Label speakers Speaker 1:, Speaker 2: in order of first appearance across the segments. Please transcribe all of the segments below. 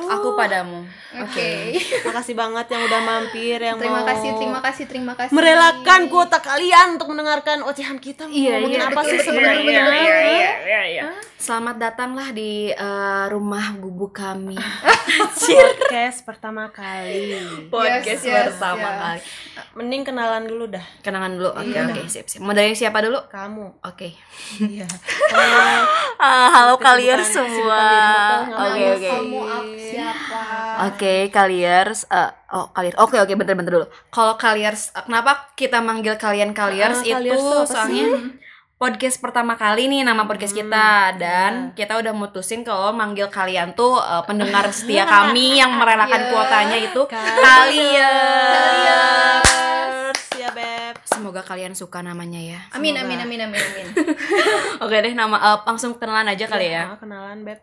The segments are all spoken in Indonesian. Speaker 1: kepadamu.
Speaker 2: Oke.
Speaker 3: Makasih banget yang udah mampir yang
Speaker 2: Terima
Speaker 3: mau
Speaker 2: kasih, terima kasih, terima kasih.
Speaker 3: merelakan kuota kalian untuk mendengarkan ocehan kita
Speaker 1: Iya,
Speaker 3: ngomongin
Speaker 1: iya,
Speaker 3: apa
Speaker 1: betul,
Speaker 3: sih
Speaker 1: betul,
Speaker 3: sebenarnya.
Speaker 1: iya,
Speaker 2: iya, iya,
Speaker 1: Selamat datanglah di eh, rumah gubuk kami.
Speaker 3: Podcast pertama kali.
Speaker 1: Podcast
Speaker 2: Yes, yes,
Speaker 1: bersama
Speaker 2: yes.
Speaker 1: kali.
Speaker 3: Mending kenalan dulu dah
Speaker 1: Kenangan dulu. Oke, oke, sip, sip. Mau dari siapa dulu?
Speaker 3: kamu.
Speaker 1: Oke.
Speaker 3: Iya.
Speaker 1: halo
Speaker 3: kalian semua. Oke,
Speaker 2: Nama
Speaker 3: oke.
Speaker 2: Kamu ap- siapa?
Speaker 1: Oke, kaliers eh, oh kalier. Oke, oke, bentar-bentar dulu. Kalau kaliers eh, kenapa kita manggil kalian kaliers
Speaker 3: Ah,
Speaker 1: itu
Speaker 3: kaliers tuh apa sih?
Speaker 1: soalnya podcast pertama kali nih nama podcast kita dan kita udah mutusin kalau manggil kalian tuh eh, pendengar setia kami yang merelakan
Speaker 2: Iya.
Speaker 1: kuotanya itu kaliers.
Speaker 3: Ya, Beb.
Speaker 1: Semoga kalian suka namanya ya.
Speaker 2: Amin,
Speaker 3: Semoga.
Speaker 2: amin, amin, amin, amin.
Speaker 1: Oke deh, nama eh, langsung kenalan aja kali ya.
Speaker 3: Ah, kenalan, Beb.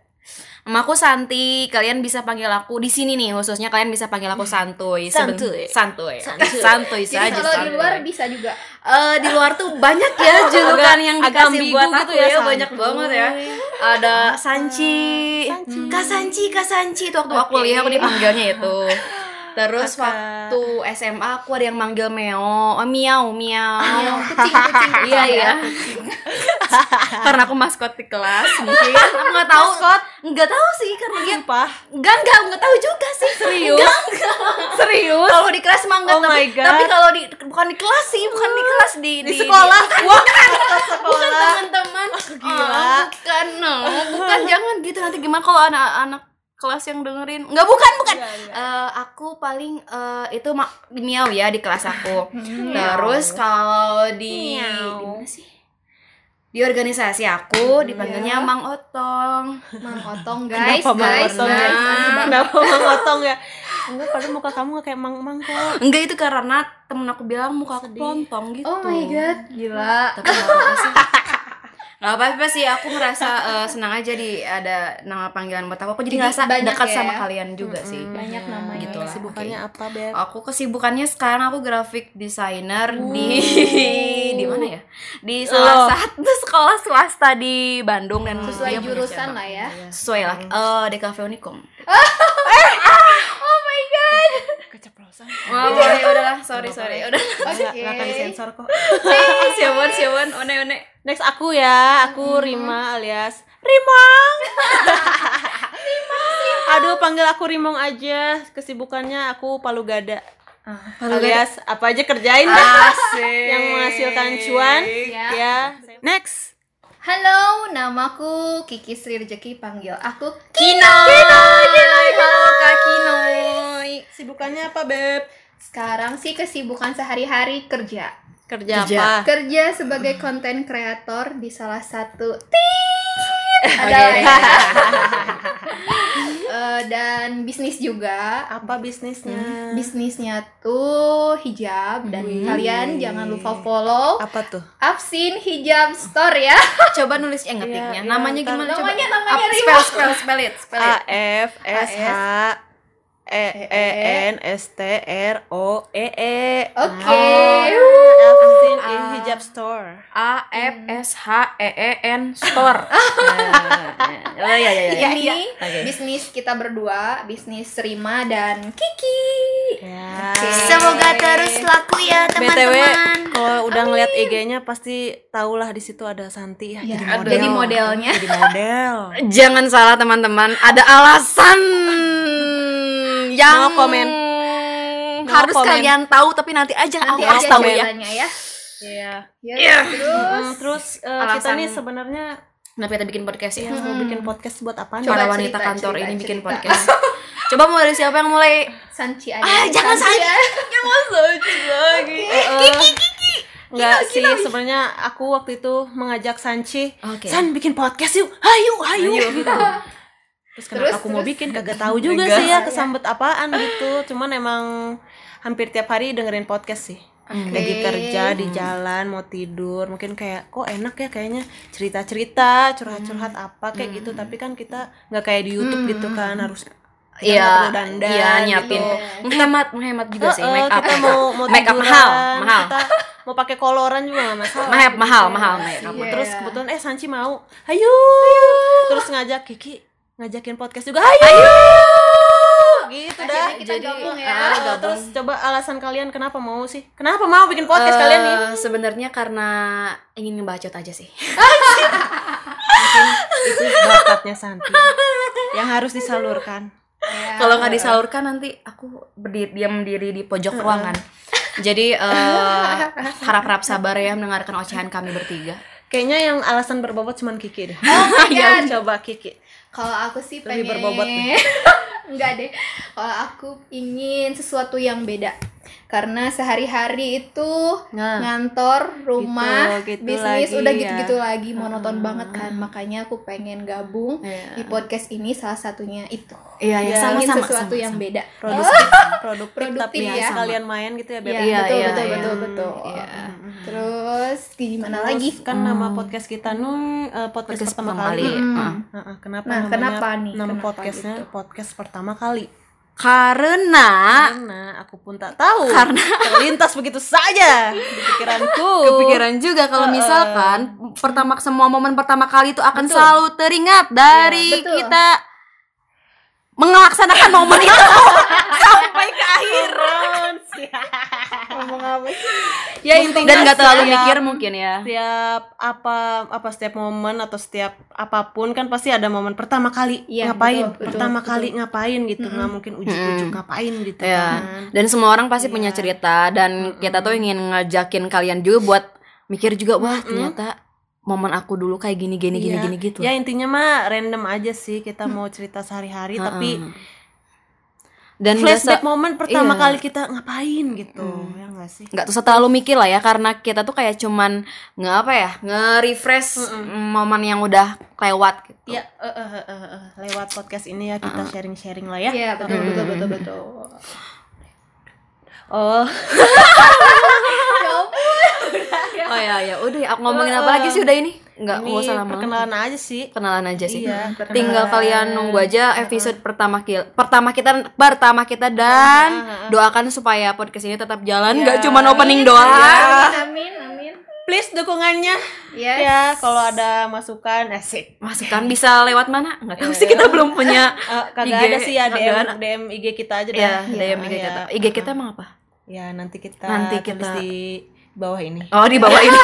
Speaker 1: Nama aku Santi, kalian bisa panggil aku di sini nih khususnya kalian bisa panggil aku Santuy. Seben-
Speaker 3: Santuy.
Speaker 1: Santuy.
Speaker 3: Santuy.
Speaker 1: Santuy saja.
Speaker 2: Jadi kalau di
Speaker 1: Santuy.
Speaker 2: luar bisa juga.
Speaker 1: Eh, di luar tuh banyak ya julukan yang
Speaker 3: agak ambigu
Speaker 1: dikasih buat
Speaker 3: gitu
Speaker 1: aku ya,
Speaker 3: ya,
Speaker 1: banyak
Speaker 3: Santuy.
Speaker 1: banget ya. Ada Sanci.
Speaker 3: Sanci.
Speaker 1: Kak Sanci, Kak Sanci itu waktu aku
Speaker 2: Oke.
Speaker 1: kuliah aku dipanggilnya itu. Terus
Speaker 3: Kakak.
Speaker 1: waktu SMA aku ada yang manggil Meo, oh, miau, miau.
Speaker 2: Yang kucing, kucing.
Speaker 1: Iya iya. karena aku maskot di kelas mungkin. Aku nggak tahu. Maskot? Nggak tahu sih karena dia
Speaker 3: Sumpah.
Speaker 1: Enggak, enggak, enggak tahu juga sih Serius? Serius? Kalau di kelas mah enggak
Speaker 3: Oh
Speaker 1: tapi,
Speaker 3: my God.
Speaker 1: tapi kalau di, bukan di kelas sih, bukan di kelas Di,
Speaker 3: Di sekolah.
Speaker 1: Wah, bukan teman-teman
Speaker 3: gila.
Speaker 1: Oh, Bukan, no. bukan, jangan gitu Nanti gimana kalau anak-anak kelas yang dengerin Enggak, bukan, bukan
Speaker 3: Iya, iya.
Speaker 1: Eh, Aku paling, eh, itu mak, di miau ya di kelas aku Terus kalau di,
Speaker 3: Miau.
Speaker 1: di mana sih? Di organisasi aku dipanggilnya Mang Otong
Speaker 2: Mang Otong guys,
Speaker 3: Kenapa Mang
Speaker 2: guys,
Speaker 3: Otong,
Speaker 2: guys.
Speaker 1: Nah.
Speaker 3: Kenapa Mang Otong ya? Enggak, padahal muka kamu gak kayak Mang Mang kok.
Speaker 1: Enggak itu karena temen aku bilang muka aku
Speaker 3: Sedih.
Speaker 1: pelontong gitu.
Speaker 2: Oh my god, gila.
Speaker 1: Tapi nggak apa-apa sih. Nggak apa-apa sih, aku ngerasa eh, senang aja di ada nama panggilan buat aku. Aku jadi
Speaker 2: Jadi
Speaker 1: ngerasa
Speaker 2: banyak
Speaker 1: dekat
Speaker 2: ya.
Speaker 1: sama kalian juga sih.
Speaker 2: Banyak namanya.
Speaker 1: Gitu lah. Oh, ya.
Speaker 3: Kesibukannya apa, Beb?
Speaker 1: Aku kesibukannya sekarang aku graphic designer di di mana ya? Di
Speaker 3: Loh.
Speaker 1: salah satu sekolah swasta di Bandung dan
Speaker 2: Sesuai
Speaker 3: Iya,
Speaker 1: dia punya
Speaker 2: jurusan
Speaker 1: cabang.
Speaker 2: lah ya.
Speaker 1: Sesuai lah. Eh, DKV Unicom.
Speaker 2: Oh my god.
Speaker 3: Keceplosan.
Speaker 1: Wah, boleh, udahlah. Sorry, sorry. Udah.
Speaker 2: Oke.
Speaker 3: Nggak nggak akan disensor kok.
Speaker 1: Siapun, siapun. One, one.
Speaker 3: Next aku ya, aku Rima alias Rimong. Aduh, panggil aku Rimong aja. Kesibukannya aku palu gada. alias apa aja kerjain dah. yang menghasilkan cuan.
Speaker 2: Ya.
Speaker 3: Ya. Next.
Speaker 2: Halo, namaku Kiki Sri Rejeki panggil aku
Speaker 1: Kino. Kino, Halo Kak Kino.
Speaker 3: Sibukannya apa, Beb?
Speaker 2: sekarang sih kesibukan sehari-hari kerja.
Speaker 3: Kerja,
Speaker 1: Kerja.
Speaker 3: apa?
Speaker 2: Kerja sebagai konten kreator di salah satu ada
Speaker 1: Oke.
Speaker 2: lah ya.
Speaker 1: iya.
Speaker 2: Eh, dan bisnis juga.
Speaker 3: Apa bisnisnya?
Speaker 1: Hmm,
Speaker 2: Bisnisnya tuh hijab dan kalian jangan lupa follow
Speaker 3: apa tuh?
Speaker 2: Absin Hijab Store ya.
Speaker 1: Coba nulis yang
Speaker 3: Iya, iya,
Speaker 1: ngetiknya. namanya
Speaker 3: ntar.
Speaker 1: gimana?
Speaker 2: Namanya
Speaker 1: Coba.
Speaker 2: namanya
Speaker 1: Up-
Speaker 2: Rima.
Speaker 1: spell, spell, spell it, spell
Speaker 3: A
Speaker 1: it.
Speaker 3: F S H E E N S T R O E E. Ah,
Speaker 2: Oke.
Speaker 1: Oh,
Speaker 3: Elfin in
Speaker 1: Ah.
Speaker 3: hijab store.
Speaker 1: A F S H E E N store. Nah, Oh iya iya iya.
Speaker 2: Ini
Speaker 1: Oke.
Speaker 2: bisnis kita berdua, bisnis Rima dan Kiki.
Speaker 3: Ya.
Speaker 1: Semoga terus laku ya
Speaker 3: BTW
Speaker 1: teman-teman.
Speaker 3: kalau udah ngeliat IG-nya pasti tahulah di situ ada Santi ya, jadi model.
Speaker 2: Jadi modelnya.
Speaker 3: Jadi model.
Speaker 1: Jangan salah teman-teman, ada alasan yang
Speaker 3: No comment.
Speaker 1: harus
Speaker 3: comment.
Speaker 1: kalian tahu tapi nanti aja aku
Speaker 2: Nanti aja
Speaker 1: kasih tahu ya.
Speaker 2: ceritanya ya.
Speaker 3: Iya.
Speaker 2: Ya,
Speaker 3: Mm, Terus
Speaker 2: Terus
Speaker 3: eh, kita
Speaker 1: Alasan-
Speaker 3: nih sebenarnya
Speaker 1: Kenapa kita bikin podcast ya?
Speaker 3: ya, mau bikin podcast buat apa?
Speaker 2: Coba
Speaker 1: Para wanita
Speaker 2: cerita,
Speaker 1: kantor
Speaker 2: cerita,
Speaker 1: ini bikin
Speaker 2: cerita.
Speaker 1: podcast. Coba mau dari siapa yang mulai?
Speaker 2: Sanci aja.
Speaker 1: Ah, jangan Sanci.
Speaker 2: ya.
Speaker 3: lagi. Kiki kiki. Eh, Enggak sih, sebenarnya aku waktu itu mengajak Sanci,
Speaker 1: Oke.
Speaker 3: San bikin podcast yuk, hayu, hayu, gitu. Terus kenapa
Speaker 2: Terus,
Speaker 3: aku
Speaker 2: terus.
Speaker 3: mau bikin kagak tahu juga
Speaker 1: Enggak.
Speaker 3: sih ya kesambet apaan gitu. Cuman emang hampir tiap hari dengerin podcast sih. Lagi
Speaker 2: Oke.
Speaker 3: kerja di jalan mau tidur mungkin kayak kok enak ya kayaknya cerita cerita curhat curhat apa kayak gitu tapi kan kita nggak kayak di YouTube gitu kan harus kita nggak
Speaker 1: Iya,
Speaker 3: perlu dandan
Speaker 1: iya
Speaker 3: gitu.
Speaker 1: nyiapin.
Speaker 2: gitu.
Speaker 1: Menghemat, menghemat juga sih
Speaker 3: Eh, eh,
Speaker 1: make up.
Speaker 3: kita mau mau
Speaker 1: make up mahal,
Speaker 3: tiduran,
Speaker 1: mahal.
Speaker 3: kita mau pakai koloran juga nggak masalah gitu kan.
Speaker 1: Mahal, mahal, mahal make up.
Speaker 2: Iya.
Speaker 3: terus kebetulan eh Sanci mau ayo terus ngajak Kiki ngajakin podcast juga ayo gitu
Speaker 2: Akhirnya
Speaker 3: dah.
Speaker 2: kita
Speaker 1: Jadi,
Speaker 2: gabung
Speaker 1: ah,
Speaker 2: ya.
Speaker 3: Ah,
Speaker 1: gabung.
Speaker 3: terus coba alasan kalian kenapa mau sih? Kenapa mau bikin podcast
Speaker 1: Eh,
Speaker 3: kalian nih?
Speaker 1: Sebenarnya karena ingin ngebacot aja sih.
Speaker 2: Ya,
Speaker 3: Mungkin itu bakatnya Santi yang harus disalurkan.
Speaker 2: Ya.
Speaker 1: Kalau nggak disalurkan nanti aku berdiri diam diri di pojok ruangan. Jadi eh, harap-harap sabar ya mendengarkan ocehan kami bertiga.
Speaker 3: Kayaknya yang alasan berbobot cuman Kiki deh. Ya,
Speaker 2: my God.
Speaker 3: coba Kiki.
Speaker 2: Kalau aku sih
Speaker 3: Lebih
Speaker 2: pengen
Speaker 3: berbobot nih.
Speaker 2: Enggak deh. Kalau aku ingin sesuatu yang beda. Karena sehari-hari itu
Speaker 3: Nah.
Speaker 2: ngantor, rumah,
Speaker 3: Gitu, gitu
Speaker 2: bisnis
Speaker 3: lagi
Speaker 2: udah
Speaker 3: ya.
Speaker 2: gitu-gitu lagi monoton banget kan. Makanya aku pengen gabung di
Speaker 3: Nah.
Speaker 2: podcast ini salah satunya itu.
Speaker 1: Iya,
Speaker 3: iya,
Speaker 2: Ingin
Speaker 1: sama-sama.
Speaker 2: sesuatu yang beda.
Speaker 3: Produktif, Oh. produktif, tapi
Speaker 2: Produktif
Speaker 3: ya.
Speaker 2: ya.
Speaker 3: sekalian main gitu ya, Beb.
Speaker 1: Iya,
Speaker 2: Iya, betul,
Speaker 1: iya,
Speaker 2: betul,
Speaker 1: iya.
Speaker 2: betul, betul,
Speaker 1: Iya.
Speaker 2: Terus gimana
Speaker 3: Terus
Speaker 2: lagi?
Speaker 3: kan nama podcast kita nun eh, podcast,
Speaker 1: Hmm. Podcast
Speaker 3: pertama
Speaker 1: pertama
Speaker 3: kali.
Speaker 1: kali.
Speaker 2: Hmm.
Speaker 1: Heeh.
Speaker 3: Heeh, kenapa
Speaker 2: Nah,
Speaker 3: Ah, namanya-
Speaker 2: kenapa nih?
Speaker 3: Nama
Speaker 2: Kenapa
Speaker 3: podcastnya
Speaker 2: gitu?
Speaker 3: podcast pertama kali.
Speaker 1: Karena
Speaker 3: Karena aku pun tak tahu.
Speaker 1: Ah. Karena-
Speaker 3: terlintas begitu saja di pikiranku.
Speaker 1: kepikiran juga kalau
Speaker 3: Heeh.
Speaker 1: misalkan pertama semua momen pertama kali itu akan selalu teringat dari
Speaker 2: Iya, betul.
Speaker 1: kita melaksanakan momen itu sampai ke akhir.
Speaker 2: Ngomong apa sih?
Speaker 3: ya intinya
Speaker 1: Dan nggak terlalu
Speaker 3: setiap-
Speaker 1: mikir mungkin ya.
Speaker 3: setiap apa apa setiap momen atau setiap apapun kan pasti ada momen pertama kali
Speaker 2: Iya,
Speaker 3: ngapain
Speaker 2: betul, betul,
Speaker 3: pertama
Speaker 2: betul.
Speaker 3: kali ngapain gitu nggak mungkin ujuk-ujuk ngapain gitu
Speaker 1: Ya.
Speaker 3: kan
Speaker 1: Dan semua orang pasti punya cerita dan kita tuh ingin ngajakin kalian juga buat mikir juga wah ternyata momen aku dulu kayak gini gini gini
Speaker 3: Iya.
Speaker 1: gini gitu.
Speaker 3: ya intinya mah random aja sih kita mau cerita sehari-hari
Speaker 1: Heeh.
Speaker 3: tapi
Speaker 1: dan nggak
Speaker 3: flashback
Speaker 1: se-
Speaker 3: momen pertama
Speaker 1: iya. Hmm.
Speaker 3: kali kita ngapain gitu ya nggak sih
Speaker 1: nggak usah terlalu mikir lah ya karena kita tuh kayak cuman nggak apa ya nge-refresh momen yang udah lewat gitu.
Speaker 3: ya eh, eh, eh, eh, eh, lewat podcast ini ya kita sharing-sharing lah ya
Speaker 2: Iya, betul, betul, betul, betul.
Speaker 3: oh
Speaker 2: Ya ampun.
Speaker 1: Oh ya ya udah ya, aku ngomongin apa lagi sih udah ini? Nggak
Speaker 3: ini
Speaker 1: nggak usah lama.
Speaker 3: perkenalan aja sih
Speaker 1: Kenalan aja sih.
Speaker 3: Iya, perkenalan.
Speaker 1: Tinggal kalian nunggu aja episode pertama kita pertama kita pertama kita dan doakan supaya podcast ini tetap
Speaker 3: Iya.
Speaker 1: jalan nggak cuman opening doang.
Speaker 2: Amin, amin, amin.
Speaker 3: please dukungannya
Speaker 2: Yes.
Speaker 3: ya kalau ada masukan eh, asik
Speaker 1: Masukan bisa lewat mana? Nggak tahu sih
Speaker 3: Iya.
Speaker 1: kita belum punya
Speaker 3: Eh, kagak
Speaker 1: IG,
Speaker 3: ada sih ya
Speaker 1: kagak
Speaker 3: DM,
Speaker 1: ada.
Speaker 3: DM IG kita aja deh.
Speaker 1: ya, DM IG kita.
Speaker 3: iya.
Speaker 1: IG kita emang apa?
Speaker 3: Ya nanti kita
Speaker 1: Nanti
Speaker 3: tulis
Speaker 1: kita-
Speaker 3: di bawah ini.
Speaker 1: Oh di bawah ini.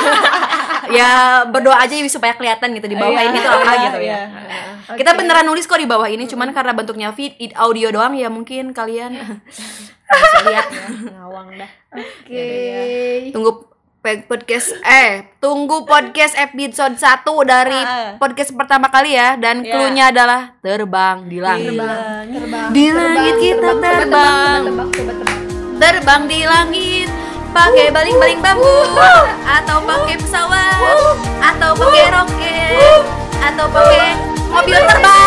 Speaker 1: ya berdoa aja supaya kelihatan gitu di bawah ini tuh apa gitu ya.
Speaker 3: Iya.
Speaker 1: Kita beneran nulis kok di bawah ini, cuman karena bentuknya vid audio doang ya mungkin kalian bisa lihat.
Speaker 3: Ngawang dah.
Speaker 2: Oke. ya.
Speaker 1: Tunggu pe- podcast eh tunggu podcast episode 1 dari
Speaker 3: Ah.
Speaker 1: podcast pertama kali ya dan
Speaker 3: Ya.
Speaker 1: clue-nya adalah terbang di langit.
Speaker 3: Terbang.
Speaker 2: Terbang.
Speaker 1: Di langit kita terbang.
Speaker 2: Tebak, tebak, tebak.
Speaker 1: Terbang di langit pakai baling-baling bambu atau pakai pesawat atau pakai roket atau pakai mobil terbang.